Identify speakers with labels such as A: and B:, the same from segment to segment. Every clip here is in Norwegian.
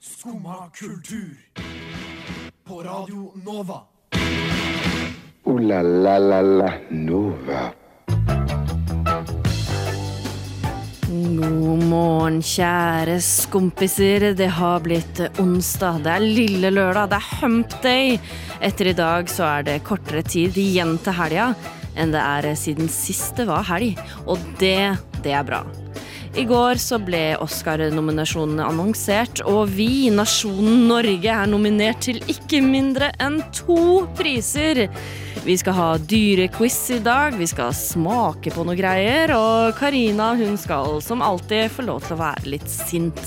A: Skumma kultur. På Radio Nova.
B: Ooh la la la la Nova.
C: God morgen, kjære skompiser. Det har blitt onsdag. Det er lille lørdag. Det er hump day. Etter i dag så er det kortere tid igjen til helga enn det er siden sist det var helg. Og det, det er bra. I går så ble Oscar-nominasjonene annonsert, og vi, nasjonen Norge, er nominert til ikke mindre enn to priser. Vi skal ha dyrequiz i dag, vi skal smake på noe greier, og Karina hun skal som alltid få lov til å være litt sint.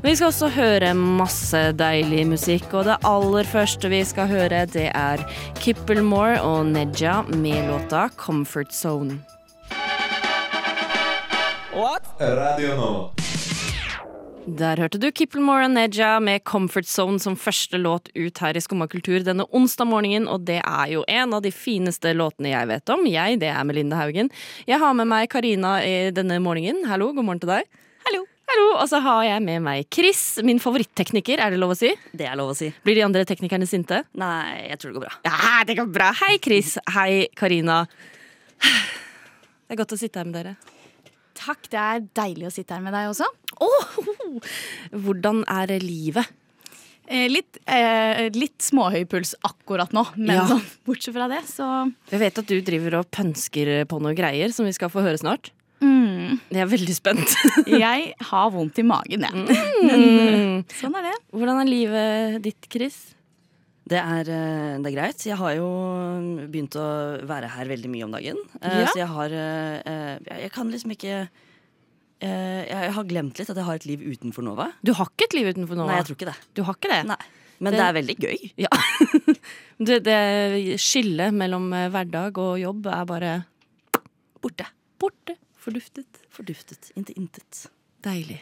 C: Men vi skal også høre masse deilig musikk, og det aller første vi skal høre, det er Kippelmore og Neja med låta 'Comfort Zone'.
D: Radio Nova.
C: Der hørte du Kippelmore og Neja med Comfort Zone som første låt ut her i Skumma kultur denne onsdag morgenen, og det er jo en av de fineste låtene jeg vet om. Jeg, det er Melinda Haugen. Jeg har med meg Karina i denne morgenen. Hallo, god morgen til deg.
E: Hallo.
C: Hallo, Og så har jeg med meg Chris, min favorittekniker, er det lov å si?
E: Det er lov å si.
C: Blir de andre teknikerne sinte?
E: Nei, jeg tror det går bra.
C: Ja, det går bra. Hei, Chris. Hei, Karina. Det er godt å sitte her med dere.
F: Takk, det er deilig å sitte her med deg også.
C: Hvordan er livet?
F: Eh, litt, eh, litt småhøy puls akkurat nå, men
C: Ja.
F: sånn, bortsett fra det, så
C: Jeg vet at du driver og pønsker på noe greier som vi skal få høre snart.
E: Mm.
C: Jeg er veldig spent.
F: Jeg har vondt i magen, jeg.
C: Mm.
F: Men, eh, sånn er det.
C: Hvordan er livet ditt, Chris?
E: Det er, eh, det er greit. Jeg har jo mm, begynt å være her veldig mye om dagen. Eh,
C: Ja.
E: Så jeg har eh, eh, Jeg jeg kan liksom ikke eh, Jeg har glemt litt at jeg har et liv utenfor Nova.
C: Du har ikke et liv utenfor Nova?
E: Nei, jeg tror ikke det.
C: Du har ikke det?
E: Nei. Men det,
C: Det-
E: er veldig gøy.
C: Ja. Du, det skillet mellom eh, hverdag og jobb er bare
E: Borte.
C: borte. Forduftet.
E: Forduftet. Inte intet.
C: Deilig.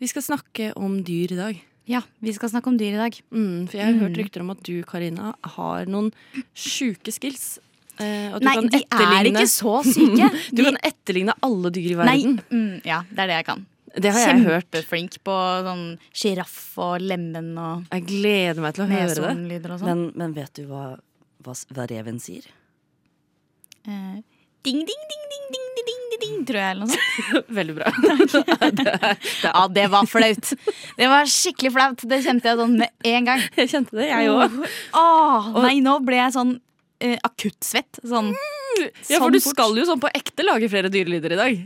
C: Vi skal snakke om dyr i dag.
F: Ja, vi skal snakke om dyr i dag.
C: Mm, for jeg har hørt rykter om at du, Karina, har noen sjuke skills. eh, og at du
F: Nei,
C: kan
F: de er
C: etterligne-
F: ikke så syke.
C: Du
F: De,
C: kan etterligne alle dyr i
F: nei,
C: verden.
F: mm, ja, det er det jeg kan.
C: Det har jeg hørt.
F: Kjempeflink på sånn sjiraff og lemen og
C: Jeg gleder meg til å høre det.
F: neshornlyder og sånn.
E: Men, men vet du hva, hva, s- hva reven sier?
F: Eh, Ding, ding, ding, ding, ding, ding, ding, ding, ding, tror jeg, eller noe sånt.
C: Veldig bra.
F: Ja, det var flaut. Det var skikkelig flaut. Det kjente jeg sånn med en gang.
C: Jeg kjente det, jeg òg.
F: Mm. Åh, nei, nå ble jeg sånn eh, akuttsvett. Sånn.
C: Ja, for
F: sånn
C: du
F: fort.
C: skal jo sånn på ekte lage flere dyrelyder i dag.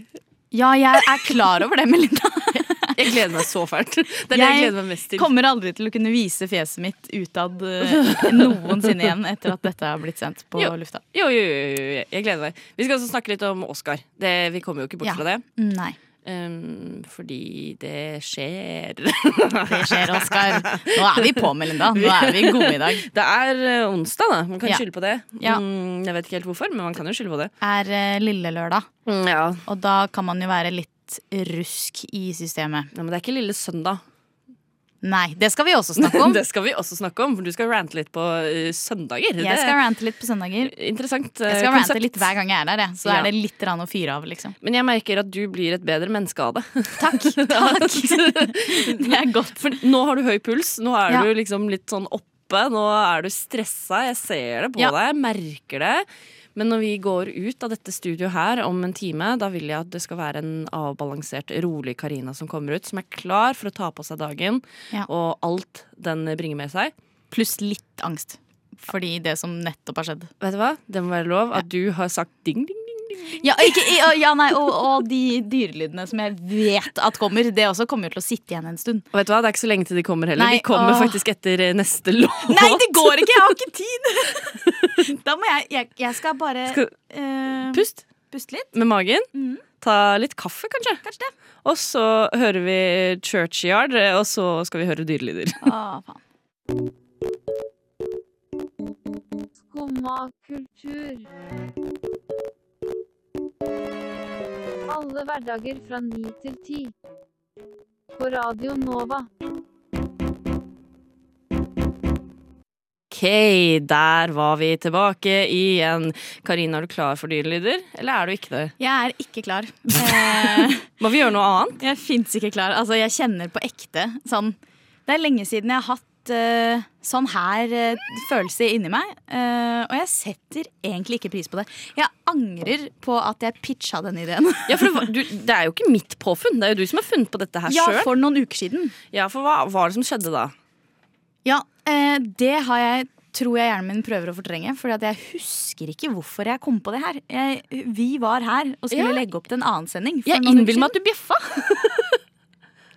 F: Ja, jeg er klar over det, Melinda.
C: Jeg gleder meg så fælt. Det er det jeg
F: Jeg
C: gleder meg mest til.
F: Kommer aldri til å kunne vise fjeset mitt utad eh, noensinne igjen etter at dette har blitt sendt på
C: Jo.
F: lufta.
C: Jo, jo, jo, jo, jo, jeg gleder meg. Vi skal også snakke litt om Oscar. Det, vi kommer jo ikke bort
F: Ja.
C: fra det.
F: Nei.
C: Um, fordi det skjer.
F: Det skjer, Oskar. Nå er vi på, Melinda. Nå er vi gode i dag.
C: Det er eh, onsdag, da. Man kan
F: Ja.
C: skylde på det.
F: Ja.
C: Mm, jeg vet ikke helt hvorfor, men man kan jo skylde på det.
F: Er eh, lille lørdag,
C: Mm, ja.
F: og da kan man jo være litt rusk i systemet.
C: Men det er ikke lille søndag.
F: Nei, det skal vi også snakke om.
C: Det skal vi også snakke om, for du skal rante litt på eh, søndager.
F: Jeg skal rante litt på søndager.
C: det er interessant eh,
F: Jeg skal rante
C: konsept.
F: litt hver gang jeg er der, jeg. så
C: Ja.
F: er det litt rann å fyre av, liksom.
C: Men jeg merker at du blir et bedre menneske av det.
F: Takk. takk. Det er godt.
C: For nå har du høy puls, nå er
F: Ja.
C: du liksom litt sånn oppe, nå er du stressa. Jeg ser det på
F: Ja.
C: deg, jeg merker det. Men når vi går ut av dette studioet her om en time, da vil jeg at det skal være en avbalansert, rolig Karina som kommer ut, som er klar for å ta på seg dagen
F: Ja.
C: og alt den bringer med seg.
F: Pluss litt angst. Fordi det som nettopp har skjedd.
C: Vet du hva? Det må være lov at du har sagt ding, ding, ding.
F: Ja, ikke, ja, ja nei, og, og de dyrelydene som jeg vet at kommer, det også kommer jo til å sitte igjen en stund.
C: Og vet du hva? Det er ikke så lenge til de kommer heller.
F: Nei,
C: de kommer
F: åh.
C: faktisk etter eh, neste låt.
F: Nei, det går ikke! Jeg har ikke tid! Da må jeg Jeg, jeg skal bare
C: Skal-
F: eh,
C: Pust
F: puste litt.
C: med magen. Ta litt kaffe, kanskje.
F: Kanskje det.
C: Og så hører vi Churchyard, eh, og så skal vi høre dyrelyder.
F: Å, faen.
G: Skumma kultur. Alle hverdager fra 9 til 10. På Radio Nova.
C: Ok, der var vi tilbake igjen. Karina, er du klar for dyrelyder, eller er du ikke det?
F: Jeg er ikke klar. Eh,
C: Må vi gjøre noe annet?
F: jeg fins ikke klar. Altså, jeg kjenner på ekte sånn Det er lenge siden jeg har hatt eh, sånn her eh, følelse inni meg. eh, og jeg setter egentlig ikke pris på det. Jeg angrer på at jeg pitcha den ideen.
C: Ja, for det, var- du, det er jo ikke mitt påfunn, det er jo du som har funnet på dette her
F: Ja,
C: sjøl.
F: for noen uker siden.
C: Ja, for hva var det som skjedde da?
F: Ja, eh, det har jeg tror jeg hjernen min prøver å fortrenge. Fordi at jeg husker ikke hvorfor jeg kom på det her. Jeg, vi var her og skulle legge opp til en annen sending. for
C: Jeg
F: noen uker
C: innbiller meg at
F: siden.
C: du bjeffa.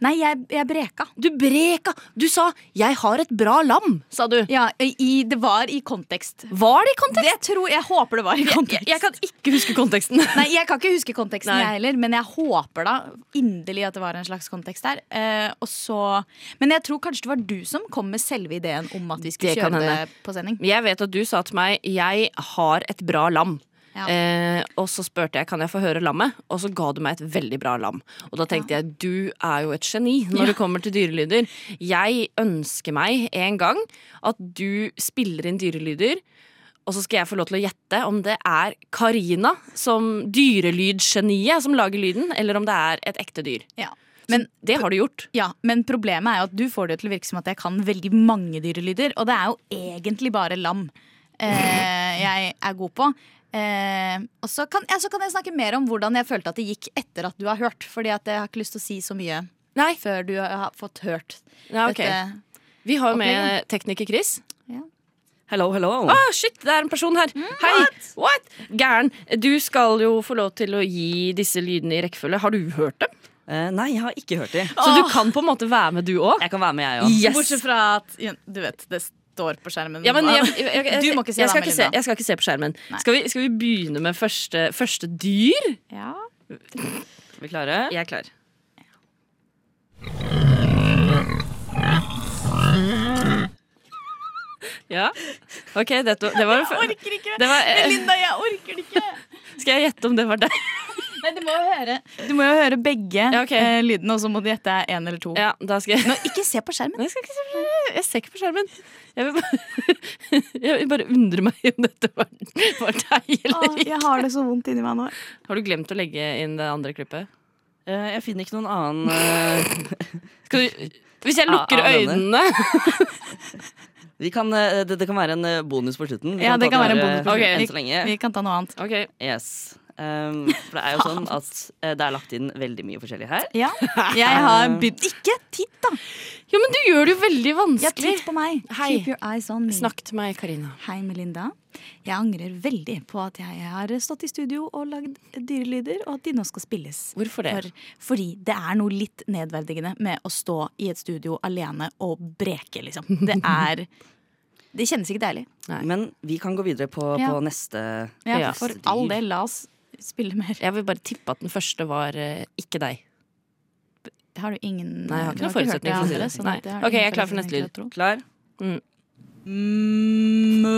F: Nei, jeg, jeg breka.
C: Du breka. Du sa 'jeg har et bra lam', sa du.
F: Ja, i, Det var i kontekst.
C: Var det i kontekst?
F: Det tror jeg håper det var i kontekst.
C: Jeg, jeg kan ikke huske konteksten.
F: Nei, Jeg kan ikke huske konteksten,
C: Nei.
F: jeg heller, men jeg håper da inderlig at det var en slags kontekst der. Eh, og så, men jeg tror kanskje det var du som kom med selve ideen om at vi skulle
C: Det kan
F: kjøre det
C: hende.
F: på sending.
C: Jeg vet at du sa til meg 'jeg har et bra lam'.
F: Ja.
C: Eh, og så spurte jeg kan jeg få høre lammet, og så ga du meg et veldig bra lam. Og da tenkte jeg du er jo et geni når det kommer til dyrelyder. Jeg ønsker meg en gang at du spiller inn dyrelyder, og så skal jeg få lov til å gjette om det er Karina, som dyrelydgeniet, som lager lyden, eller om det er et ekte dyr.
F: Ja.
C: Men det har du gjort.
F: Ja, Men problemet er jo at du får det til å virke som at jeg kan veldig mange dyrelyder, og det er jo egentlig bare lam eh, jeg er god på. Eh, og så kan, ja, så kan jeg snakke mer om hvordan jeg følte at det gikk etter at du har hørt. Fordi at jeg har ikke lyst til å si så mye
C: Nei,
F: før du har fått hørt
C: ja, ok.
F: dette.
C: Vi har jo med tekniker Chris.
E: Hello, hello.
F: Ah!
C: Å, shit, det er en person her.
F: Mm,
C: Hei. What? Gæren. Du skal jo få lov til å gi disse lydene i rekkefølge. Har du hørt dem?
E: Eh, nei, jeg har ikke hørt det.
F: Ah!
C: Så du kan på en måte være med, du òg?
E: Jeg kan være med, jeg òg.
C: Yes.
F: Bortsett fra at ja, Du vet, det står på skjermen.
C: Ja, men jeg, jeg, jeg,
F: Du må ikke se
C: jeg, skal
F: da,
C: ikke se,
F: Melinda.
C: jeg skal ikke se på skjermen.
F: Nei.
C: Skal vi, skal vi begynne med første, første dyr?
F: Ja.
E: Er vi klare?
C: Jeg er klar. Ja. OK, det, det var
F: orker ikke
C: det var, eh,
F: Linda, jeg orker det ikke!
C: Skal jeg gjette om det var deg?
F: Nei, du må jo høre Du må jo høre begge
C: Ja, ok.
F: eh, lydene, og så må du gjette én eller to.
C: Ja, da skal jeg
F: Nå, ikke se på skjermen.
C: Nei, jeg, skal ikke se på skjermen. jeg ser ikke på skjermen. Jeg vil bare, jeg vil bare undre meg om dette var, var deg eller ikke.
F: jeg har det så vondt inni meg nå.
C: Har du glemt å legge inn det andre klippet?
E: Eh, jeg finner ikke noen annen eh,
C: Skal du, hvis jeg
E: Ja,
C: lukker
E: ja,
C: øynene
E: vi kan, eh, det, det kan være en eh, bonus på slutten. Vi
F: Ja,
E: ta
F: det kan
E: den
F: være en
E: her, eh,
F: bonus på
C: slutten.
E: enn så lenge.
F: Vi kan ta noe annet.
C: Ok,
E: Yes. Ehm, for det er jo sånn at eh, det er lagt inn veldig mye forskjellig her.
F: Ja, jeg har begynt Ikke titt, da!
C: Jo, men du gjør det jo veldig
F: Ja,
C: vanskelig.
F: titt på meg.
C: Hei.
F: Keep your eyes on me.
C: Snakk til meg, Karina.
F: Hei, Melinda. Jeg angrer veldig på at jeg har stått i studio og lagd dyrelyder, og at de nå skal spilles.
C: Hvorfor det?
F: For, fordi det er noe litt nedverdigende med å stå i et studio alene og breke, liksom. Det er Det kjennes ikke deilig.
E: Men vi kan gå videre på,
F: Ja.
E: på neste
F: Ja,
C: Ja.
F: for all del, la oss spille mer.
C: Jeg vil bare tippe at den første var eh, ikke deg.
F: Har du ingen
C: Nei, jeg har ikke
F: du
C: noen forutsetning
F: hørt
C: for å si det.
F: andre, sånn
C: Nei.
F: at har
C: Ok, jeg er
F: ingen
C: klar for neste
F: forutsetning
C: lyd.
F: til å tro.
E: Klar?
C: Mm.
E: Mm.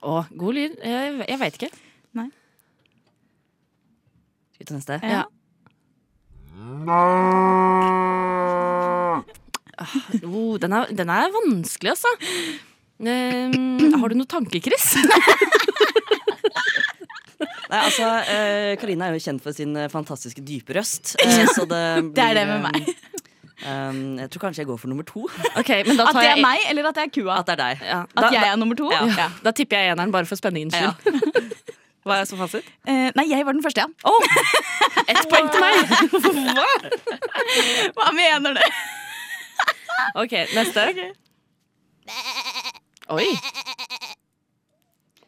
C: Å, god lyd. Jeg, jeg veit ikke.
E: Skal vi ta neste?
F: Ja.
C: Oh, den, er, den er vanskelig, altså. Ehm, har du noen tanke, Chris?
E: Nei, altså, eh, Karina er jo kjent for sin eh, fantastiske dype røst. eh, så det, blir,
F: Det er det med meg.
E: eh, em, jeg tror kanskje jeg går for nummer to.
C: Ok, men da
F: At
C: tar
F: det er
C: jeg
F: meg, eller at det er kua?
E: At det er deg.
C: ja,
F: At
C: da, da,
F: jeg er nummer to?
E: Ja.
F: Ja.
C: da tipper jeg eneren bare for spenningens skyld.
E: Hva er som fasit?
F: Eh, nei, jeg var den første, ja.
C: Ett poeng til meg.
F: Hva mener du?
C: Ok, neste. Oi.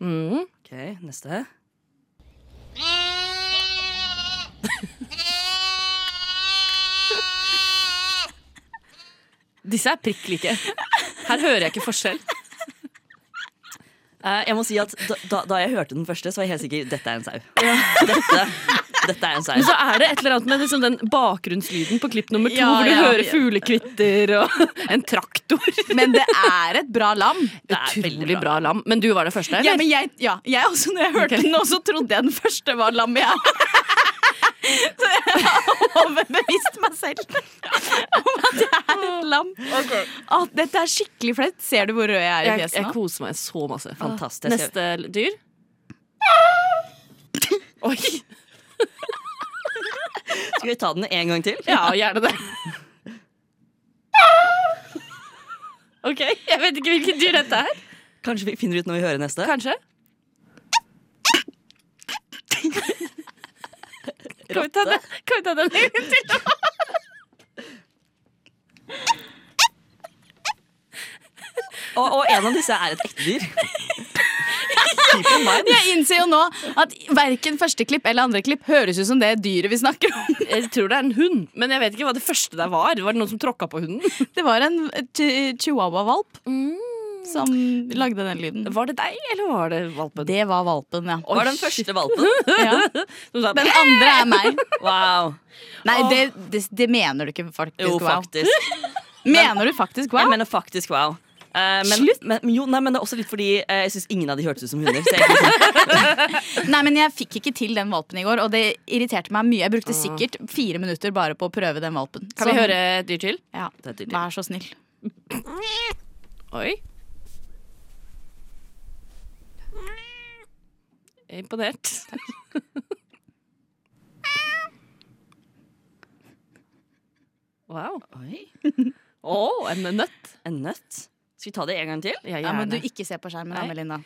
C: Mm.
E: Ok, neste.
C: Disse er prikk like. Her hører jeg ikke forskjell.
E: Eh, jeg må si at da, da, da jeg hørte den første, så var jeg helt sikker dette er en sau. Dette, dette er en sau.
C: Men
F: ah,
C: så er det et eller annet med liksom den bakgrunnslyden på klipp nummer to,
F: Ja,
C: hvor du
F: ja.
C: hører fuglekvitter og en traktor.
F: Men det er et bra lam.
E: Det er veldig
C: Utrolig bra lam. Men du var det første,
F: Ja,
C: eller?
F: men jeg, ja, jeg også, når jeg hørte den, også trodde jeg den første var lam. Jeg. Så jeg har overbevist meg selv om at jeg er et lam. Å, dette er skikkelig flaut. Ser du hvor rød jeg er i
C: Jeg, jeg
F: fjeset nå?
C: koser meg så masse.
E: Fantastisk.
C: Neste dyr? Oi!
E: Skal vi ta den en gang til?
C: Ja, gjerne det. Ok, Jeg vet ikke hvilket dyr dette er.
E: Kanskje vi finner ut når vi hører neste?
C: Kanskje. Kan vi ta den, kan vi ta den en gang til?
E: Og, og en av disse er et ektedyr. Keep in mind.
F: Jeg innser jo nå at verken første klipp eller andre klipp høres ut som det dyret vi snakker om.
C: Jeg tror det er en hund, men jeg vet ikke hva det første der var. Var det noen som tråkka på hunden?
F: Det var en chi- chihuahua-valp som lagde den lyden.
C: Var det deg, eller var det valpen?
F: Det var valpen, ja.
E: Var den første valpen?
F: ja.
C: Som sa,
F: Den andre er meg.
E: Wow.
F: Nei, det, det, det mener du ikke faktisk.
E: Jo,
F: wow.
E: faktisk.
F: Mener du faktisk wow?
E: Jeg mener faktisk wow. Eh, men,
F: Slutt.
E: Men, jo, nei, men det er også litt fordi eh, jeg syns ingen av de hørtes ut som hunder. Så jeg, sånn,
F: Nei, men jeg fikk ikke til den valpen i går, og det irriterte meg mye. Jeg brukte sikkert fire minutter bare på å prøve den valpen.
C: Kan vi
F: Så-
C: høre et dyr til?
F: Ja,
E: Det er dyrt.
F: vær så snill.
C: Oi. Jeg er Imponert. Wow.
E: Oi,
C: Å, en nøtt.
E: en nøtt. Skal vi ta det en gang til?
C: Ja,
F: Ja, men du
C: gjerne.
F: ikke se på skjermen, da,
C: Nei.
F: Melinda.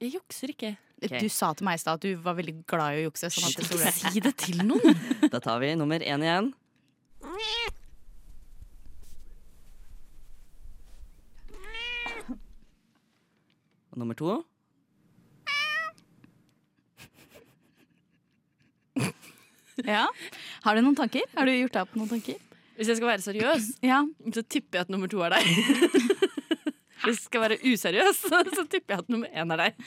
C: Jeg jukser ikke.
E: Ok.
F: Du sa til meg i stad at du var veldig glad i å jukse. Sånn at jeg tror det.
C: Si det til noen.
E: Da tar vi nummer én igjen. Og nummer to.
F: Ja. Har du noen tanker? Har du gjort deg opp noen tanker?
C: Hvis jeg skal være seriøs,
F: Ja.
C: så tipper jeg at nummer to er deg. Hvis jeg skal være useriøs, så tipper jeg at nummer én er deg.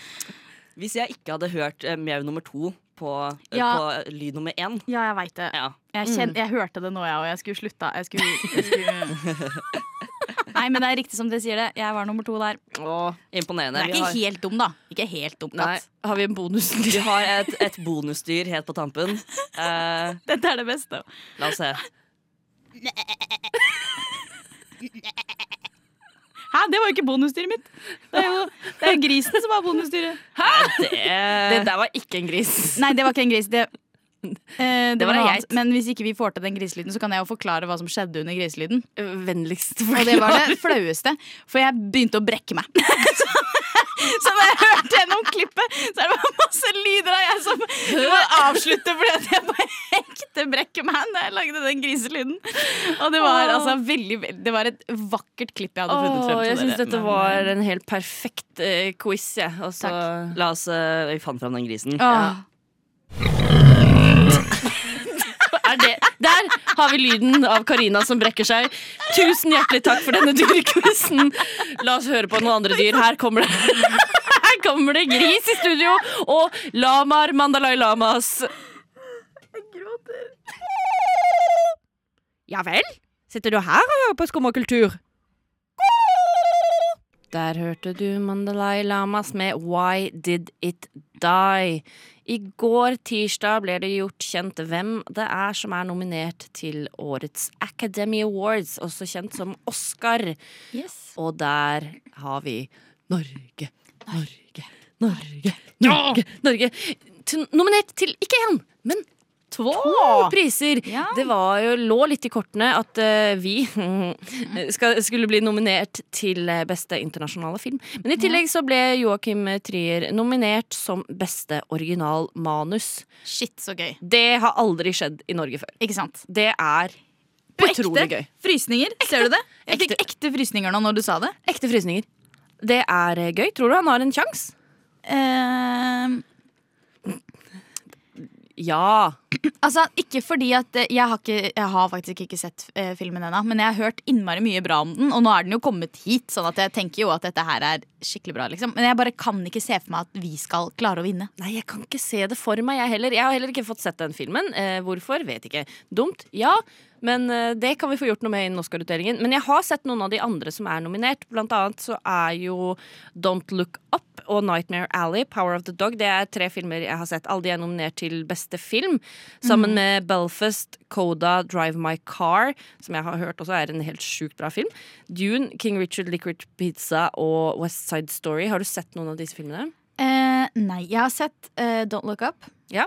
E: Hvis jeg ikke hadde hørt eh, mjau nummer to på, eh,
F: Ja.
E: på lyd nummer én
F: Ja, Mm. jeg veit det.
E: ja.
F: Jeg, kjen- jeg hørte det nå, jeg, og jeg skulle slutta. Jeg skulle, jeg skulle... Nei, men det er riktig som dere sier det. Jeg var nummer to der.
C: Åh,
E: Imponerende.
F: Det er
E: Vi
F: ikke
E: har,
F: helt dum, da. Ikke helt dum,
C: nei.
F: katt.
C: Har vi en bonus? til?
E: vi har et, et bonusdyr helt på tampen. Eh,
F: Dette er det beste.
E: la oss se.
F: Hæ, det var jo ikke bonusdyret mitt! Det er jo det er jo grisen som var bonusdyret.
E: Det
F: Eh,
E: er
C: Det der var ikke en gris.
F: Nei, det var ikke en gris. Det, eh, det,
C: var
F: var noe
C: en
F: annet. Men hvis ikke vi får til den griselyden, så kan jeg jo forklare hva som skjedde under griselyden.
C: Vennligst
F: Og det var det flaueste, for jeg begynte å brekke meg. Så, så da jeg hørte gjennom klippet, så er det bare masse lyder av jeg som du må avslutte fordi at jeg på ekte brekker meg når jeg lagde den griselyden. Og det var altså veldig, veldig Det var et vakkert klipp jeg hadde funnet frem
C: Åh,
F: til.
C: jeg syns
F: dere.
C: dette
F: Men, eh,
C: var en helt perfekt eh, quiz, jeg. Og så
E: La oss eh, Vi fant fram den grisen.
F: Åh.
C: er det Der har vi lyden av Karina som brekker seg. Tusen hjertelig takk for denne dyrequizen. La oss høre på noen andre dyr. Her kommer det Her kommer det gris i studio og lamaer, Mandalai Lamas. Ja vel? Sitter du her og hører på skummakultur? Der hørte du Mandalai Lamas med Why Did It Die? I går tirsdag ble det gjort kjent hvem det er som er nominert til årets Academy Awards, også kjent som Oscar. Og der har vi Norge, Norge, Norge, Norge, Norge. Til, nominert til ikke én, men to priser.
F: Ja.
C: Det var jo, lå litt i kortene at eh, vi skal, skulle bli nominert til eh, beste internasjonale film. Men i tillegg så ble Joakim Trier nominert som beste originalmanus.
F: Shit, så gøy.
C: Det har aldri skjedd i Norge før.
F: Ikke sant?
C: Det er utrolig gøy.
F: Frysninger, ser du det? Jeg fikk
C: Ekte.
F: ekte frysninger nå når du sa det.
C: Ekte frysninger. Det er eh, gøy. Tror du han har en sjanse?
F: Ehm,
C: Ja.
F: Altså, ikke fordi at eh, jeg har, ikke, jeg har faktisk ikke sett eh, filmen ennå, men jeg har hørt innmari mye bra om den, og nå er den jo kommet hit, sånn at jeg tenker jo at dette her er skikkelig bra, liksom. Men jeg bare kan ikke se for meg at vi skal klare å vinne.
C: Nei, jeg kan ikke se det for meg, jeg heller. Jeg har heller ikke fått sett den filmen. Eh, hvorfor? Vet ikke. Dumt? Ja. Men eh, det kan vi få gjort noe med innen Oscar-utdelingen. Men jeg har sett noen av de andre som er nominert. Blant annet så er jo Don't Look Up og Nightmare Alley, Power of the Dog. Det er tre filmer jeg har sett. Alle de er nominert til beste film. Sammen med Belfast, Coda, Drive My Car, som jeg har hørt også er en helt sjukt bra film. Dune, King Richard, Liquid Pizza og West Side Story. Har du sett noen av disse filmene?
F: Eh, nei, jeg har sett eh, Don't Look Up.
C: Ja.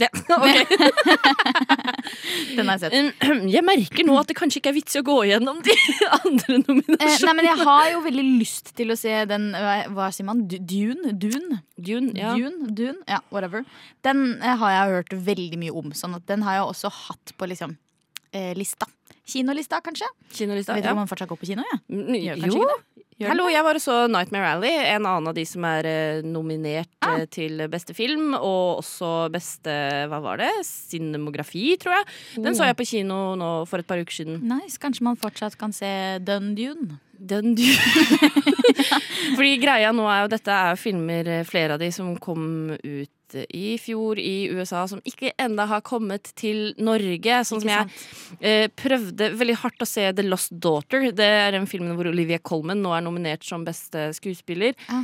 C: Ja, ok.
F: Den har jeg sett.
C: Jeg merker nå at det kanskje ikke er vits i å gå gjennom de andre
F: Eh, nei,
C: nominasjonene.
F: men jeg har jo veldig lyst til å se den Hva, hva sier man? Du- Dune? Dune?
C: Dune, ja.
F: Dune? Dune? Ja, whatever. Den eh, har jeg hørt veldig mye om, sånn at den har jeg også hatt på liksom eh, lista. Kinolista, kanskje?
C: Kinolista,
F: Vet du
C: ja.
F: om man fortsatt går på kino? Ja?
C: Mm,
F: Gjør kanskje
C: Jo.
F: ikke det? Gjør
C: Hallo, jeg var og så Nightmare Alley, en annen av de som er eh, nominert
F: Ah.
C: eh, til beste film, og også beste, hva var det, cinemografi, tror jeg. Den
F: Oh.
C: så jeg på kino nå for et par uker siden.
F: Nice, Kanskje man fortsatt kan se Dun Dune.
C: Den du... Fordi greia nå er jo, dette er jo filmer, eh, flere av de som kom ut eh, i fjor i USA, som ikke enda har kommet til Norge, sånn som
F: Ikke
C: jeg Eh, prøvde veldig hardt å se The Lost Daughter. Det er den filmen hvor Olivia Colman nå er nominert som beste skuespiller.
F: Ja.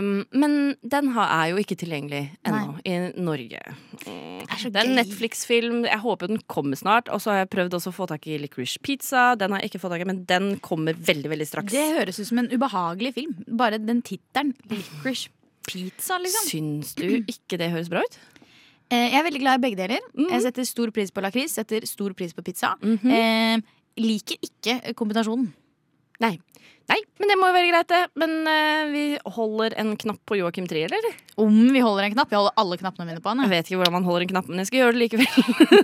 C: Um, men den har, er jo ikke tilgjengelig ennå i Norge. Mm.
F: er så
C: Det er en
F: gøy.
C: Netflix-film. Jeg håper den kommer snart. Og så har jeg prøvd også å få tak i Licorice Pizza. Den har jeg ikke fått tak i, men den kommer veldig veldig straks.
F: Det høres ut som en ubehagelig film. Bare den tittelen. Licorice Pizza, liksom.
C: Syns du ikke det høres bra ut?
F: Eh, Jeg er veldig glad i begge deler. Jeg setter stor pris på lakris, setter stor pris på pizza. eh, liker ikke kombinasjonen.
C: Nei. Nei, men det må jo være greit, det. Men eh, vi holder en knapp på Joakim Trier, eller?
F: Om vi holder en knapp. Jeg holder alle knappene mine på han.
C: Jeg
F: jeg.
C: vet ikke hvordan man holder en knapp, men jeg skal gjøre det likevel.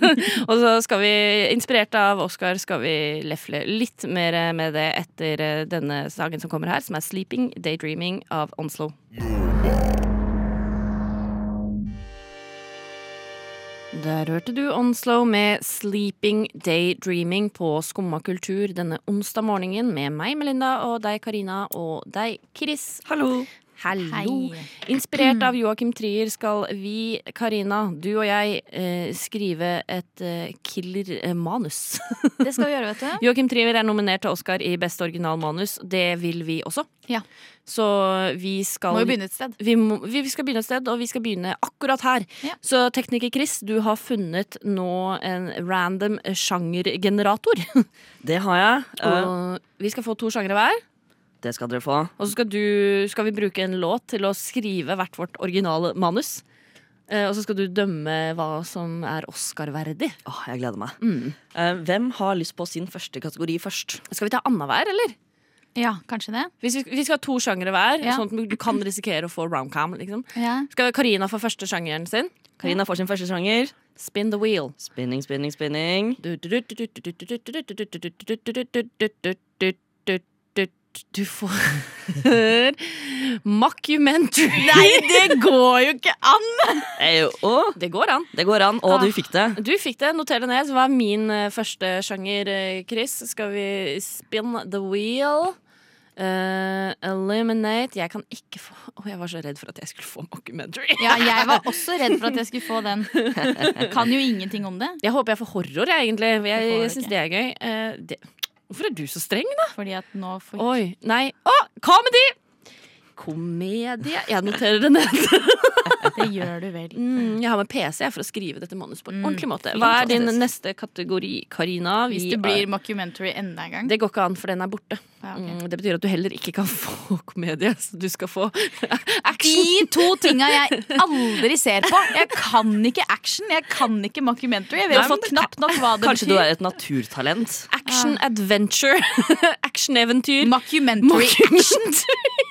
C: og så skal vi, inspirert av Oscar, skal vi lefle litt mer med det etter eh, denne sangen som kommer her, som er 'Sleeping Daydreaming' av Onslow. Der hørte du Onslow med 'Sleeping Daydreaming' på Skumma kultur denne onsdag morgenen med meg, Melinda, og deg, Karina, og deg, Chris. Hallo. Hallo.
F: Hei.
C: Inspirert av Joakim Trier skal vi, Karina, du og jeg, eh, skrive et eh, killer-manus.
F: Det skal vi gjøre, vet du.
C: Joakim Trier er nominert til Oscar i beste originalmanus. Det vil vi også.
F: Ja.
C: Så vi skal
F: Må jo begynne et sted.
C: Vi, må, vi skal begynne et sted, og vi skal begynne akkurat her.
F: Ja.
C: Så tekniker Chris, du har funnet nå en random sjangergenerator.
H: Det har jeg. Eh,
C: Og vi skal få to sjangere hver.
H: det skal dere få.
C: Og så skal, du, skal vi bruke en låt til å skrive hvert vårt originale manus. Eh, og så skal du dømme hva som er Oscar-verdig.
H: Åh, jeg gleder meg.
F: Mm.
H: Eh, hvem har lyst på sin første kategori først?
C: Skal vi ta annenhver, eller?
F: Ja, kanskje det.
C: Vi skal, vi skal ha to sjangere hver,
F: Ja.
C: sånn at du kan risikere å få roundcam. Liksom.
F: Ja.
C: Skal Karina få første sjangeren sin?
H: Karina får sin første sjanger.
C: Spin the wheel.
H: Spinning, spinning, spinning.
C: Du får Mockumentary. Nei, det går jo ikke an!
H: Eh, jo,
C: Det går an.
H: det går an, og du fikk
F: Ah,
H: det.
C: Du fikk det. Noter det ned. Så hva er min eh, første sjanger, eh, Chris? Skal vi spin the wheel? Eh, eliminate Jeg kan ikke få Å, jeg var så redd for at jeg skulle få mockumentary.
F: ja, jeg var også redd for at jeg skulle få den. Kan jo ingenting om det.
C: Jeg håper jeg får horror, jeg, egentlig. for Jeg,
F: Det får du
C: jeg syns
F: ikke.
C: det er gøy. Eh, det. Hvorfor er du så streng, da?
F: Fordi at nå får
C: Oi, nei. Å, comedy! Komedie. Jeg noterer det ned.
F: Det gjør du vel.
C: Mm, jeg har med PC jeg, for å skrive dette manuset på en
F: Mm,
C: ordentlig måte.
F: fint.
C: Hva er din neste kategori, Karina?
F: Hvis
C: Vi
F: det
C: er-
F: blir mockumentary enda en gang.
C: Det går ikke an, for den er borte.
F: Ja, ok.
C: Mm, Det betyr at du heller ikke kan få komedie, så du skal få action.
F: De to tinga jeg aldri ser på. Jeg kan ikke action, jeg kan ikke mockumentary. Jeg
C: Nei,
F: vet
C: men
F: fått knapt nok hva det
H: Kanskje du
F: betyr.
H: er et naturtalent.
C: Action adventure. Action-eventyr.
F: Mockumentary.
C: Mockumentary.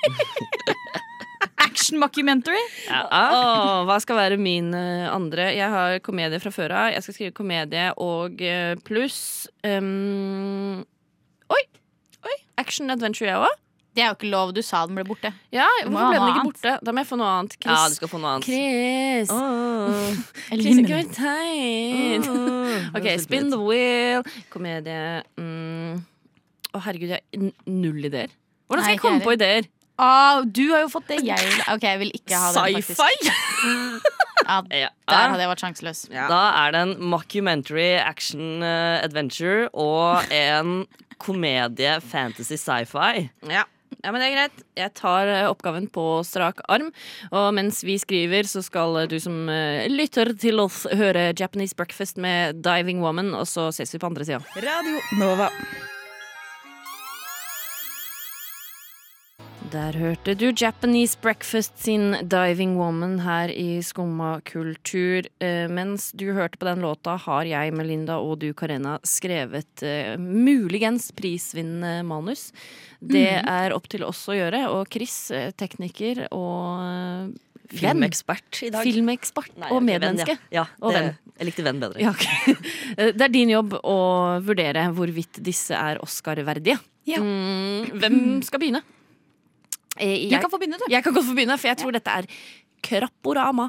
F: Action mockumentary.
C: Åh, hva skal være min eh, andre? Jeg har komedie fra før av. Jeg skal skrive komedie og eh, pluss ehm, Oi! Oi. Action adventure, jeg òg.
F: Det er jo ikke lov. Du sa den ble borte.
C: Ja,
F: Du må
C: hvorfor ble
F: ha
C: den
F: noe
C: ikke borte? Da må jeg få noe annet. Chris.
H: Ja, du skal få noe annet.
C: Chris.
H: Åh.
C: Chris, ikke
F: Eliminate.
C: vær teit.
H: Åh, det
C: Ok,
H: var så
C: spin the
H: fint.
C: wheel, komedie mm. Å herregud, jeg har n- null ideer. Hvordan skal
F: Nei,
C: jeg komme
F: ikke
C: på ideer?
F: Å, Ah, du har jo fått det jeg vil. Ok, jeg vil ikke ha den, faktisk. Ja,
H: Ja.
F: der hadde jeg vært sjanseløs.
H: Da er det en mockumentary, action, eh, adventure og en komedie, fantasy, sci-fi.
C: Ja. ja, men det er greit. Jeg tar eh, oppgaven på strak arm. Og mens vi skriver, så skal eh, du som eh, lytter til oss, høre Japanese Breakfast med Diving Woman, og så ses vi på andre sida.
H: Radio Nova.
C: Der hørte du Japanese Breakfast sin Diving Woman her i Skumma kultur. Eh, Mens du hørte på den låta, har jeg, Melinda, og du, Karena, skrevet eh, muligens prisvinnende manus. Det
H: Mm.
C: er opp til oss å gjøre, og Chris, eh, tekniker og eh, venn.
H: Filmekspert i dag.
C: Filmekspert
H: Nei,
C: og
H: jeg er ikke venn,
C: medmenneske.
H: Ja. Ja,
C: Og
H: det,
C: venn.
H: Jeg likte venn bedre.
C: Ja, ok. Eh, Det er din jobb å vurdere hvorvidt disse er Oscar-verdige.
F: Ja.
C: Mm, Hvem skal begynne? Eh,
F: Du kan få begynne, du.
C: jeg kan godt få begynne, for jeg tror dette er Krapporama.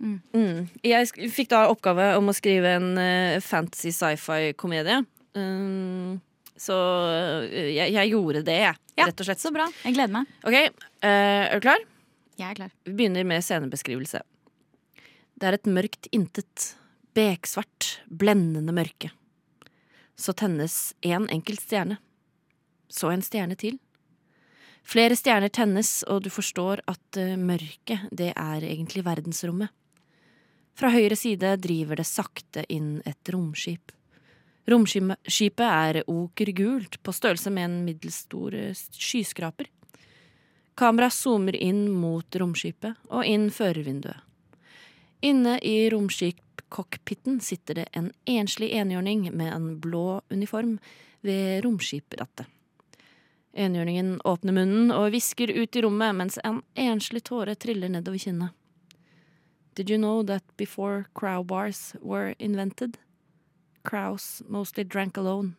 C: Mm. Jeg sk- fikk da oppgave om å skrive en eh, fantasy sci-fi-komedie. Mm, så eh, jeg, jeg gjorde det, jeg.
F: Ja.
C: Rett og slett.
F: Så bra. Jeg gleder meg.
C: Ok, eh, er du klar?
F: Jeg er klar.
C: Vi begynner med scenebeskrivelse. Det er et mørkt intet, beksvart, blendende mørke. Så tennes én enkelt stjerne. Så en stjerne til. Flere stjerner tennes, og du forstår at eh, mørket, det er egentlig verdensrommet. Fra høyre side driver det sakte inn et romskip. Romskipet er okergult, på størrelse med en middels stor eh, skyskraper. Kameraet zoomer inn mot romskipet og inn førervinduet. Inne i romskipcockpiten sitter det en enslig enhjørning med en blå uniform ved romskiprattet. Enhjørningen åpner munnen og hvisker ut i rommet mens en enslig tåre triller nedover kinnet. Did you know that before crow bars were invented, crows mostly drank alone?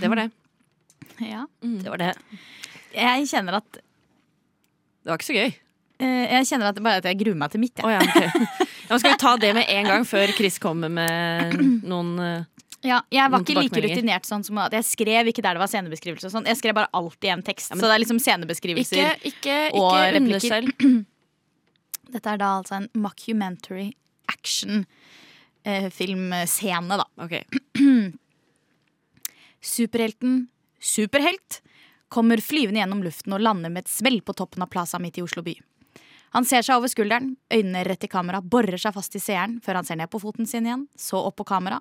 C: Det var det.
F: Ja.
C: Mm.
H: Det var det.
F: Jeg kjenner at
C: Det var ikke så gøy.
F: eh, Jeg kjenner at bare at jeg gruer meg til mitt. jeg.
C: Å ja, ok. Ja, men skal vi ta det med en gang før Chris kommer med noen eh,
F: Ja, jeg
C: Noen
F: var ikke like
C: tilbakemeldinger?
F: rutinert sånn som at jeg skrev ikke der det var scenebeskrivelse. og Sånn. Jeg skrev bare alltid en tekst. så det er liksom scenebeskrivelser.
C: Ikke, ikke,
F: og
C: ikke
F: replikker.
C: under selv.
F: Dette er da altså en mockumentary action eh, filmscene, da.
C: Ok.
F: Superhelten Superhelt kommer flyvende gjennom luften og lander med et smell på toppen av Plaza midt i Oslo by. Han ser seg over skulderen, øynene rett i kamera, borer seg fast i seeren før han ser ned på foten sin igjen, så opp på kamera.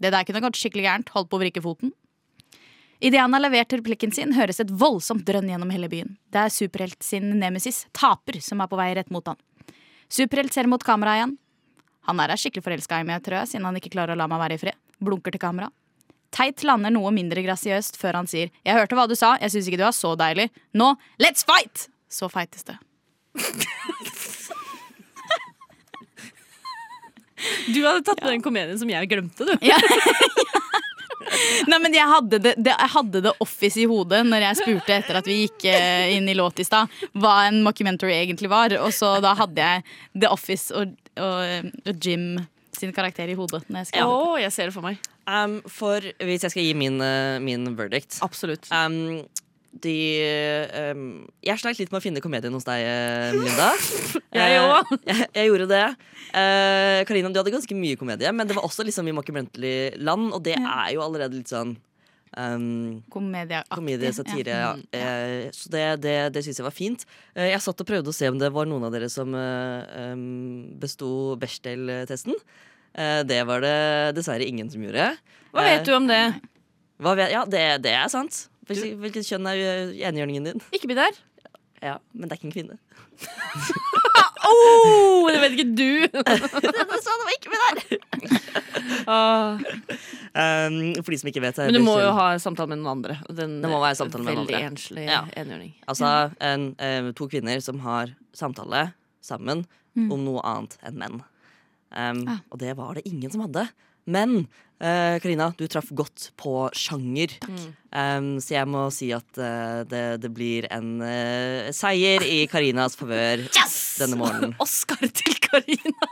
F: Det der kunne gått skikkelig gærent, holdt på å vrikke foten. Idet han har levert replikken sin, høres et voldsomt drønn gjennom hele byen. Det er Superhelt sin nemesis, Taper, som er på vei rett mot han. Superhelt ser mot kamera igjen. Han er her skikkelig forelska i meg, tror jeg, siden han ikke klarer å la meg være i fred. Blunker til kamera. Teit lander noe mindre grasiøst før han sier 'Jeg hørte hva du sa, jeg syns ikke du er så deilig'. Nå, let's fight! Så feites det.
C: Du hadde tatt med den komedien som jeg glemte, du.
F: Nei, men jeg hadde det, det, jeg hadde det office i hodet når jeg spurte etter at vi gikk eh, inn i låt i stad, hva en mockumentary egentlig var. Og så da hadde jeg The Office og, og, og Jim sin karakter i hodet. Når jeg skrev det.
C: jeg ser det for meg.
H: Um, for hvis jeg skal gi min, eh, min verdict
C: Absolutt.
H: um, de, um, Jeg sleit litt med å finne komedien hos deg, eh, Melinda.
C: Jeg
H: Eh,
C: òg.
H: jeg, jeg gjorde det. Eh, Karina, du hadde ganske mye komedie, men det var også liksom i mockumentary land, og det er jo allerede litt sånn um,
F: Komedieaktig.
H: Komedie, satire.
F: Ja.
H: Ja.
C: Mm,
H: Eh, så det, det, det syns jeg var fint. Eh, jeg satt og prøvde å se om det var noen av dere som eh, em, besto Bechdel-testen. Eh, det var det dessverre ingen som gjorde. Eh,
C: Hva vet du om det?
H: Hva vet, ja, det, det er sant. Hvilket, hvilket kjønn er eh, enhjørningen din?
C: Ikke bli der.
H: Ja, Men det er ikke en kvinne.
C: Oh, det vet ikke du. Ah,
H: Um, for de som ikke vet er
C: Men du må
H: Bechdel-
C: jo ha en samtale med noen andre. Den
H: Det må være samtale med noen
C: veldig
H: andre.
C: enslig
H: Ja.
C: enhjørning.
H: Altså en, eh, to kvinner som har samtale sammen om noe annet enn menn. Um,
F: Ah.
H: Og det var det ingen som hadde. Men eh, Karina, du traff godt på sjanger. Um, så jeg må si at eh, det, det blir en eh, seier i Karinas favør denne morgenen.
C: Oscar til Karina.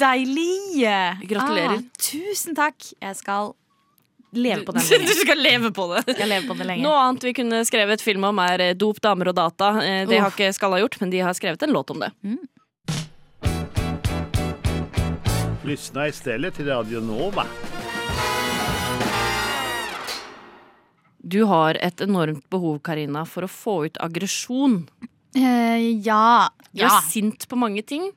F: Deilig!
C: Gratulerer.
F: Ah, tusen takk. Jeg skal leve på
C: Du
F: den lenge.
C: skal leve på det.
F: Jeg lever på den lenge.
C: Noe annet vi kunne skrevet film om, er eh, Dop, damer og data. Eh, Det har
F: Åh.
C: ikke Skalla gjort, men de har skrevet en låt om det.
I: Lyssna istället till Radio Nova.
C: Du har et enormt behov, Karina, for å få ut aggresjon.
F: Eh, ja.
C: Du
F: Ja.
C: er sint på mange ting.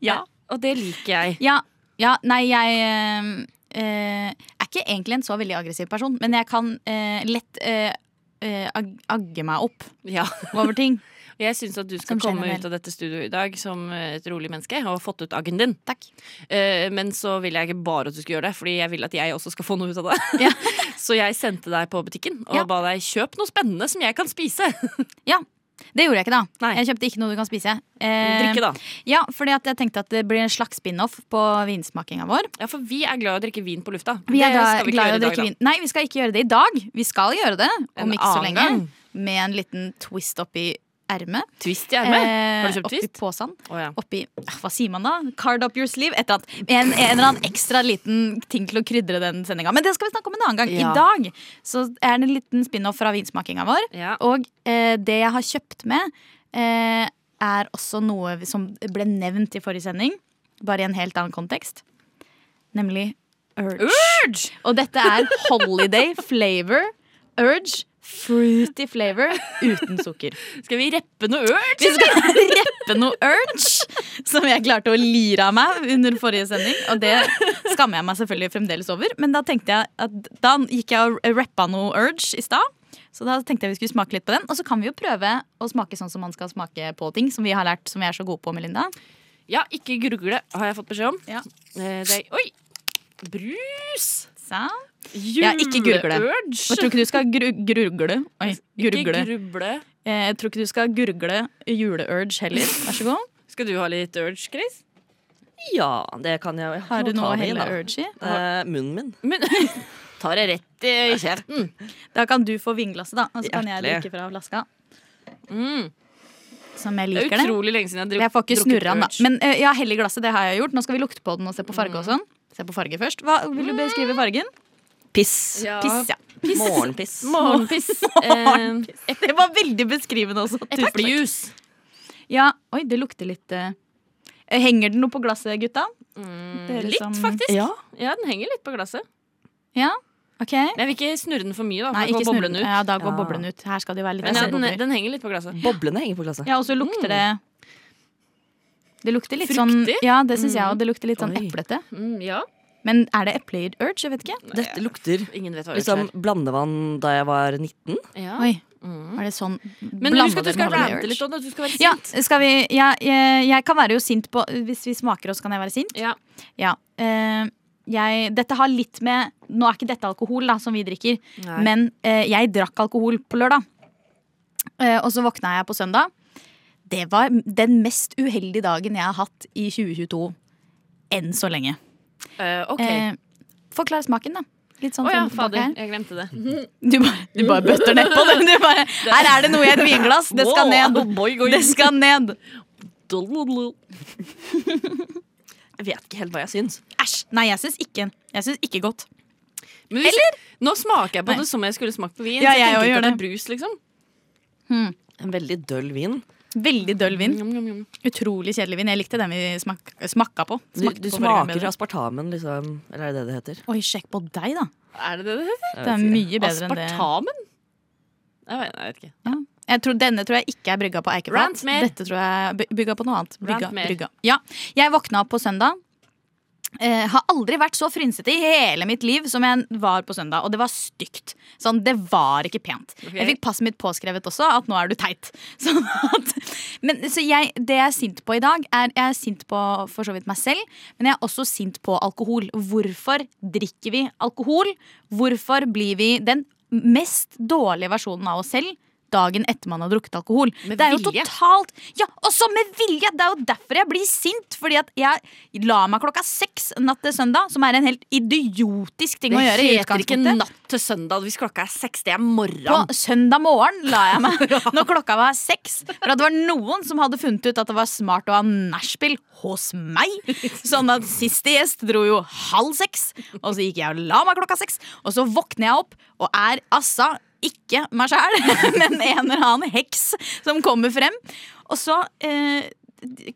F: Ja.
C: Og det liker jeg.
F: ja. Ja, nei, jeg eh, eh, er ikke ikke egentlig en så veldig aggressiv person, men jeg kan eh, lett eh, eh, ag- agge meg opp
C: Ja.
F: over ting.
C: Jeg syns at du skal
F: Som skjer
C: komme
F: meg vel.
C: ut av dette studioet i dag som et rolig menneske og fått ut aggen din.
F: Takk.
C: Eh, Men så vil jeg ikke bare at du skal gjøre det, Fordi jeg vil at jeg også skal få noe ut av det.
F: Ja.
C: Så jeg sendte deg på butikken og
F: Ja.
C: ba deg kjøp noe spennende som jeg kan spise.
F: Det gjorde jeg ikke, da.
C: Nei.
F: Jeg kjøpte ikke noe du kan spise. Eh,
C: Drikke, da.
F: Ja, fordi at jeg tenkte at det blir en slags spin-off på vinsmakinga vår.
C: Ja, for vi er glad i å drikke vin på lufta.
F: Vi
C: det
F: er da,
C: skal vi ikke
F: glad i
C: gjøre
F: å
C: i dag,
F: drikke
C: da.
F: vin. Nei, vi skal ikke gjøre det i dag. Vi skal gjøre det om
C: En
F: ikke så
C: annen
F: lenge.
C: gang.
F: Med en liten twist oppi ermet.
C: Twist i ermet? Har du
F: Eh,
C: kjøpt
F: oppi
C: twist?
F: posen.
C: Å, ja.
F: Oppi ah, Hva sier man da? Card up your sleeve? Et eller annet. En, en eller annen ekstra liten ting til å krydre den sendinga. Men det skal vi snakke om en annen gang.
C: Ja.
F: I dag så er det en liten spin-off fra vinsmakinga vår.
C: Ja.
F: Og eh, det jeg har kjøpt med, eh, er også noe som ble nevnt i forrige sending, bare i en helt annen kontekst. Nemlig Urge. Og dette er Holiday flavor Urge. Fruity flavor uten sukker.
C: Skal vi reppe noe øl?
F: Vi skal reppe noe Urge, som jeg klarte å lire av meg under forrige sending. Og det skammer jeg meg selvfølgelig fremdeles over, men da tenkte jeg at da gikk jeg og rappa noe Urge i stad. Så da tenkte jeg vi skulle smake litt på den. Og så kan vi jo prøve å smake sånn som man skal smake på ting, som vi har lært, som vi er så gode på, Melinda.
C: Ja, ikke grugle, har jeg fått beskjed om.
F: Ja.
C: Eh, Det er, oi! Brus!
F: Så.
C: Juleurge!
F: ikke grugle. Og Jeg tror ikke du skal gru grugle. Oi,
C: Ikke
F: gurgle.
C: gruble.
F: Eh, Jeg tror ikke du skal gurgle juleurge heller. Vær så god.
C: Skal du ha litt urge, Chris?
H: Ja, det kan jeg. jeg
F: Har du noe å
H: det i,
F: helle
H: da.
F: urge i?
H: Eh, munnen
C: Men,
H: min.
C: tar det rett i kjeften.
F: Da kan du få vinglasset, da. Og så kan jeg
H: Hjertelig.
F: drikke fra flaska.
C: Mm.
F: Som jeg
C: Det er
F: liker det.
C: utrolig lenge siden jeg har dru-
F: Jeg får ikke
C: drukket
F: snurre den, da.
C: urge. Mm.
F: Men eh, ja, hell i glasset, det har jeg gjort. Nå skal vi lukte på den og se på farge og sånn. Se på farge først. Hva, vil du beskrive fargen?
H: Piss.
C: Ja.
F: Piss, ja.
H: Morgenpiss.
C: Morgenpiss. Eh,
F: Morgenpiss. Det var veldig beskrivende også. Tusen takk.
C: Eplejus.
F: Ja, oi, det lukter litt eh, Henger den noe på glasset, gutta? Det er
C: Mm, Litt,
F: liksom-
C: faktisk.
H: Ja.
C: Ja, den henger litt på glasset.
F: Ja, ok.
C: Men jeg vil ikke snurre den for mye, da.
F: Nei, ikke snurre den.
C: ut.
F: Ja, da går
H: Ja.
F: boblen ut. Her skal det jo være litt
C: Men ja, den, eh,
F: bobler.
C: den henger litt på glasset.
H: Boblene henger på glasset.
F: Ja, og så
C: Mm.
F: lukter det Det lukter litt
C: Fruktig?
F: sånn Ja, det syns jeg og Det lukter litt sånn
H: Oi.
F: eplete.
C: Mm, ja.
F: Men er det eple i urge? Jeg vet ikke.
H: Dette lukter
C: Ingen vet hva urge
H: liksom blandevann da jeg var 19.
C: er. Ja.
F: Oi,
C: Mm.
F: var det sånn
C: Men husk
F: Blander
C: at du
F: dere
C: skal
F: med Holiday
C: rante
F: Urge?
C: litt om det. Du skal være
F: Ja,
C: sint.
F: skal vi ja, jeg, jeg kan være jo sint på Hvis vi smaker oss, kan jeg være sint?
C: Ja.
F: Ja. eh, jeg, dette har litt med Nå er ikke dette alkohol da, som vi drikker,
C: Nei.
F: men eh, jeg drakk alkohol på lørdag. Eh, og så våkna jeg på søndag. Det var den mest uheldige dagen jeg har hatt i 2022 enn så lenge.
C: Eh, OK.
F: Eh, forklar smaken, da. Litt
C: Å
F: sånn
C: ja,
F: frem og tilbake
C: fader.
F: her.
C: Jeg glemte det.
F: Du bare, du bare bøtter nedpå det. Du bare, her er det noe i et vinglass. Det skal ned.
C: Wow, boy, boy.
F: Det skal ned.
H: Jeg vet ikke helt hva jeg syns.
F: Æsj. Nei, jeg syns ikke. Jeg syns ikke godt.
C: Men hvis-
F: Eller?
C: Nå smaker jeg på
F: Nei.
C: det som jeg skulle smakt på vin.
F: Ja,
C: så
F: jeg
C: tenker
F: også
C: ikke
F: gjør
C: at det. er
F: det.
C: brus, liksom.
H: En veldig døll vin.
F: Veldig døll vin.
C: Njam, njam, njam.
F: Utrolig kjedelig vin. Jeg likte den vi smak, smakka på.
H: Du,
F: Smakte
H: du
F: på forrige gang
H: smaker
F: bedre.
H: aspartamen, liksom. Eller er det det det heter?
F: Oi, sjekk på deg, da.
C: Er det det det heter?
F: Det er mye bedre enn det.
C: Aspartamen? Jeg vet, jeg vet ikke.
F: Ja. Jeg tror, denne tror jeg ikke er brygga på eikefat.
C: Rant mer.
F: Dette tror jeg er by- bygga på noe annet. Brygga,
C: Rant mer.
F: brygga. Ja. Jeg våkna opp på søndag. Eh, har aldri vært så frynsete i hele mitt liv som jeg var på søndag. Og det var stygt. Sånn, det var ikke pent. Jeg fikk passet mitt påskrevet også, at nå er du teit. Sånn at, men, så jeg, det jeg er sint på i dag, er jeg er sint på for så vidt meg selv, men jeg er også sint på alkohol. Hvorfor drikker vi alkohol? Hvorfor blir vi den mest dårlige versjonen av oss selv? Dagen etter man har drukket alkohol.
C: Med
F: det er jo
C: vilje.
F: totalt Ja, også med vilje! Det er jo derfor jeg blir sint. Fordi at jeg la meg klokka seks natt til søndag, som er en helt idiotisk ting å gjøre. i
C: det heter ikke
F: utgangspunktet.
C: natt til søndag hvis klokka er seks. Det er morgen.
F: På søndag morgen la jeg meg når klokka var seks. For at det var noen som hadde funnet ut at det var smart å ha nachspiel hos meg. Sånn at siste gjest dro jo halv seks, og så gikk jeg og la meg klokka seks. Og så våkner jeg opp og er assa ikke meg sjæl, men en eller annen heks som kommer frem. Og så eh,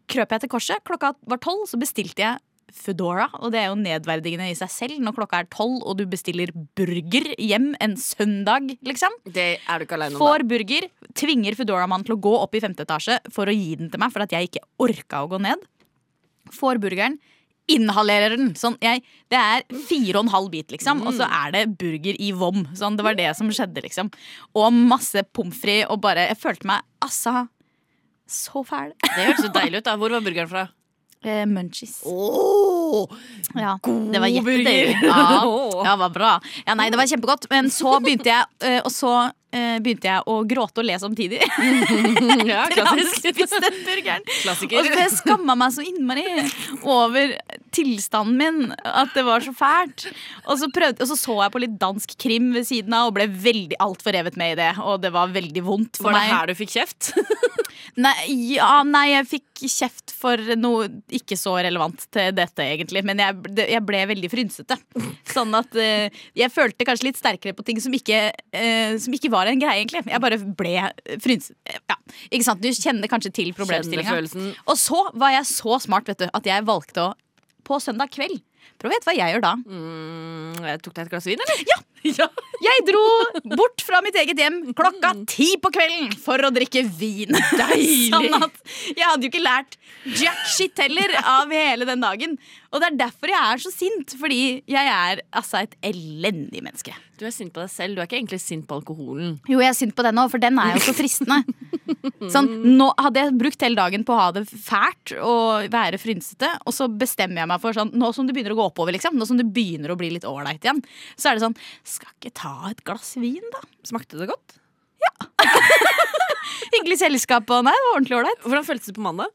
F: krøp jeg til korset. Klokka var tolv, så bestilte jeg Foodora, og det er jo nedverdigende i seg selv når klokka er tolv og du bestiller burger hjem en søndag, liksom.
C: Det er du ikke aleine om.
F: Får burger, tvinger Foodora-mannen til å gå opp i femte etasje for å gi den til meg, for at jeg ikke orka å gå ned. Får burgeren, inhalerer den. Sånn, jeg, det er fire og en halv bit, liksom. Og så
C: Mm.
F: er det burger i vom. Sånn, det var det som skjedde, liksom. Og masse pommes frites og bare Jeg følte meg altså så fæl.
C: Det høres så deilig ut. da Hvor var burgeren fra?
F: Eh, munchies.
C: Oh,
F: Ja, det var
C: god burger.
F: jettedeilig. Ja, ja, det var bra. Ja, nei, det var kjempegodt. Men så begynte jeg, eh, og så eh, begynte jeg å gråte og le samtidig.
C: ja, klassisk.
F: Spiste den burgeren.
C: Klassiker.
F: Og jeg skamma meg så innmari over tilstanden min, at det var så fælt. Og så, prøvde, og så så jeg på litt dansk krim ved siden av og ble veldig altfor revet med i det. Og det var veldig vondt for
C: Var det
F: meg.
C: her du fikk kjeft?
F: Nei, ja, nei, jeg fikk kjeft for noe ikke så relevant til dette, egentlig. Men jeg, det- jeg ble veldig frynsete. Sånn at eh, jeg følte kanskje litt sterkere på ting som ikke, eh, som ikke var en greie, egentlig. Jeg bare ble frynsete. Ja, ikke sant? Du kjenner kanskje til problemstillinga.
C: Kjennefølelsen.
F: Og så var jeg så smart vet du, at jeg valgte å på søndag kveld Prøv å gjette hva jeg gjør da.
C: Mm, jeg tok deg et glass vin, eller? Ja! Mm.
F: Jeg dro bort fra mitt eget hjem klokka ti på kvelden for å drikke vin.
C: Deilig.
F: sånn at jeg hadde jo ikke lært jack shit heller av hele den dagen. Og det er derfor jeg er så sint, fordi jeg er altså et elendig menneske.
C: Du er sint på deg selv. Du er ikke egentlig sint på alkoholen.
F: Jo, jeg er sint på den òg, for den er jo så fristende. Sånn, nå hadde jeg brukt hele dagen på å ha det fælt og være frynsete, og så bestemmer jeg meg for sånn Nå som det begynner å gå oppover, liksom, nå som det begynner å bli litt ålreit igjen, så er det sånn Skal ikke ta et glass vin, da?
C: Smakte det godt?
F: Hyggelig selskap og Nei, det var ordentlig ålreit.
C: Hvordan føltes det på mandag?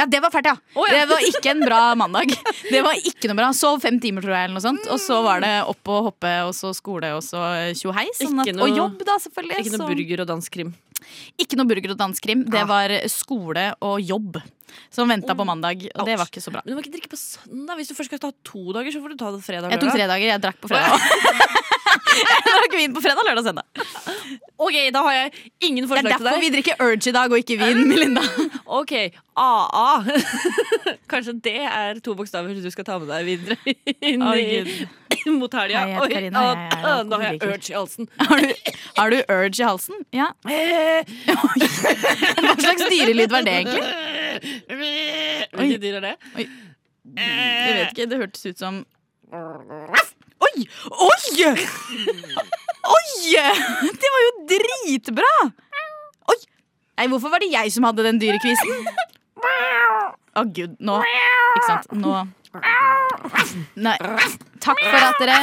F: Ja, det var fælt, ja.
C: Å, ja.
F: Det var ikke en bra mandag. Det var ikke noe bra. Sov fem timer, tror jeg, eller noe sånt. Og så var det opp og hoppe, og så skole, og så tjohei. Sånn
C: Ikke
F: at-
C: noe-
F: og jobb, da, selvfølgelig.
C: Ikke noe
F: så-
C: burger og danskrim.
F: Ikke noe burger og danskrim. Det
C: Ah.
F: var skole og jobb som venta på mandag. Og det var ikke så bra.
C: Men du må ikke drikke på søndag. Hvis du først skal ta to dager, så får du ta det fredag.
F: Jeg tok
C: lørdag.
F: tre dager. Jeg drakk på fredag. jeg drakk vin på fredag, lørdag og søndag.
C: Ok, da har jeg ingen
F: Det er
C: forslag til
F: derfor
C: deg.
F: vi drikker Urge i dag og ikke vin, Melinda.
C: Ok, AA. Kanskje det er to bokstaver du skal ta med deg videre inn
F: Å,
C: i, mot helga.
F: Hei, jeg heter
C: Oi,
F: Karina,
C: ah,
F: jeg er
C: ah, nå har jeg
F: alkoholiker.
C: urge i halsen.
F: Har du, har du Urge i halsen? Ja. Hva slags dyrelyd var det, egentlig? Oi.
C: Hvilke dyr er det?
F: Jeg vet ikke, Det hørtes ut som Eh. Oi! Oi! Oi! Det var jo dritbra! Oi! Nei, hvorfor var det jeg som hadde den dyrekvisen? Å gud, nå Ikke sant, nå Nei. Takk for at dere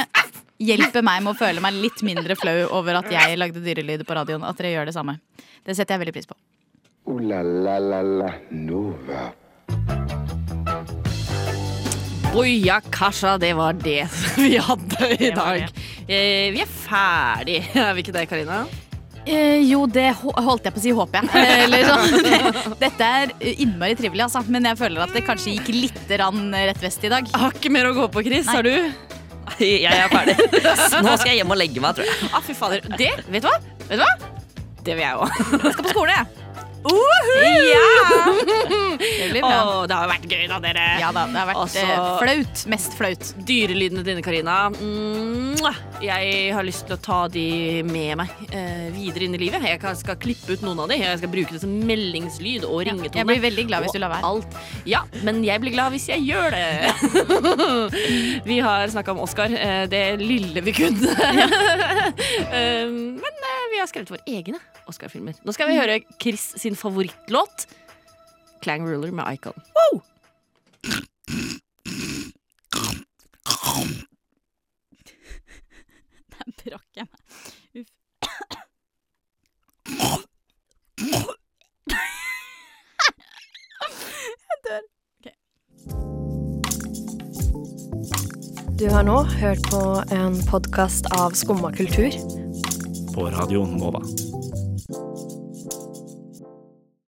F: hjelper meg med å føle meg litt mindre flau over at jeg lagde dyrelyder på radioen. At dere gjør det samme. Det setter jeg veldig pris på.
B: Ooh la la la la Nova.
C: Boja kasha, det var det vi hadde i
F: Det var
C: dag. Eh, vi er ferdig, er vi ikke det, Karina?
F: Eh, jo, det hå- holdt jeg på å si, håper jeg. Eh, Eller sånn. Dette er innmari trivelig, altså. Men jeg føler at det kanskje gikk litt rann rett vest i dag.
C: Har ikke mer å gå på, Chris. Har du?
H: Jeg er ferdig. Nå skal jeg hjem og legge meg, tror jeg.
C: Ah, fy fader. Det, vet du hva? Vet du hva? Det vil jeg òg.
F: Jeg skal på skole, jeg. Det blir
C: Å,
F: bra.
C: det har vært gøy, da, dere.
F: Ja da, det har vært
C: Altså-
F: eh, flaut. Mest flaut.
C: Dyrelydene dine, Karina. Mwah! Jeg har lyst til å ta de med meg eh, videre inn i livet. Jeg kan- skal klippe ut noen av de. Jeg skal bruke det som meldingslyd og ringetone.
F: Jeg blir veldig glad hvis du lar
C: og
F: være.
C: alt. Ja, men jeg blir glad hvis jeg gjør det. vi har snakka om Oscar, eh, det lille vi kunne. Eh, men eh, vi har skrevet våre egne Oscar-filmer. Nå skal vi
F: Mm.
C: høre Chris sin favorittlåt, 'Clang Ruler' med Icon.
F: Der brakk jeg meg. Uff.
J: Du har nå hørt på en podkast av Skumma kultur.
K: På Radio Nova.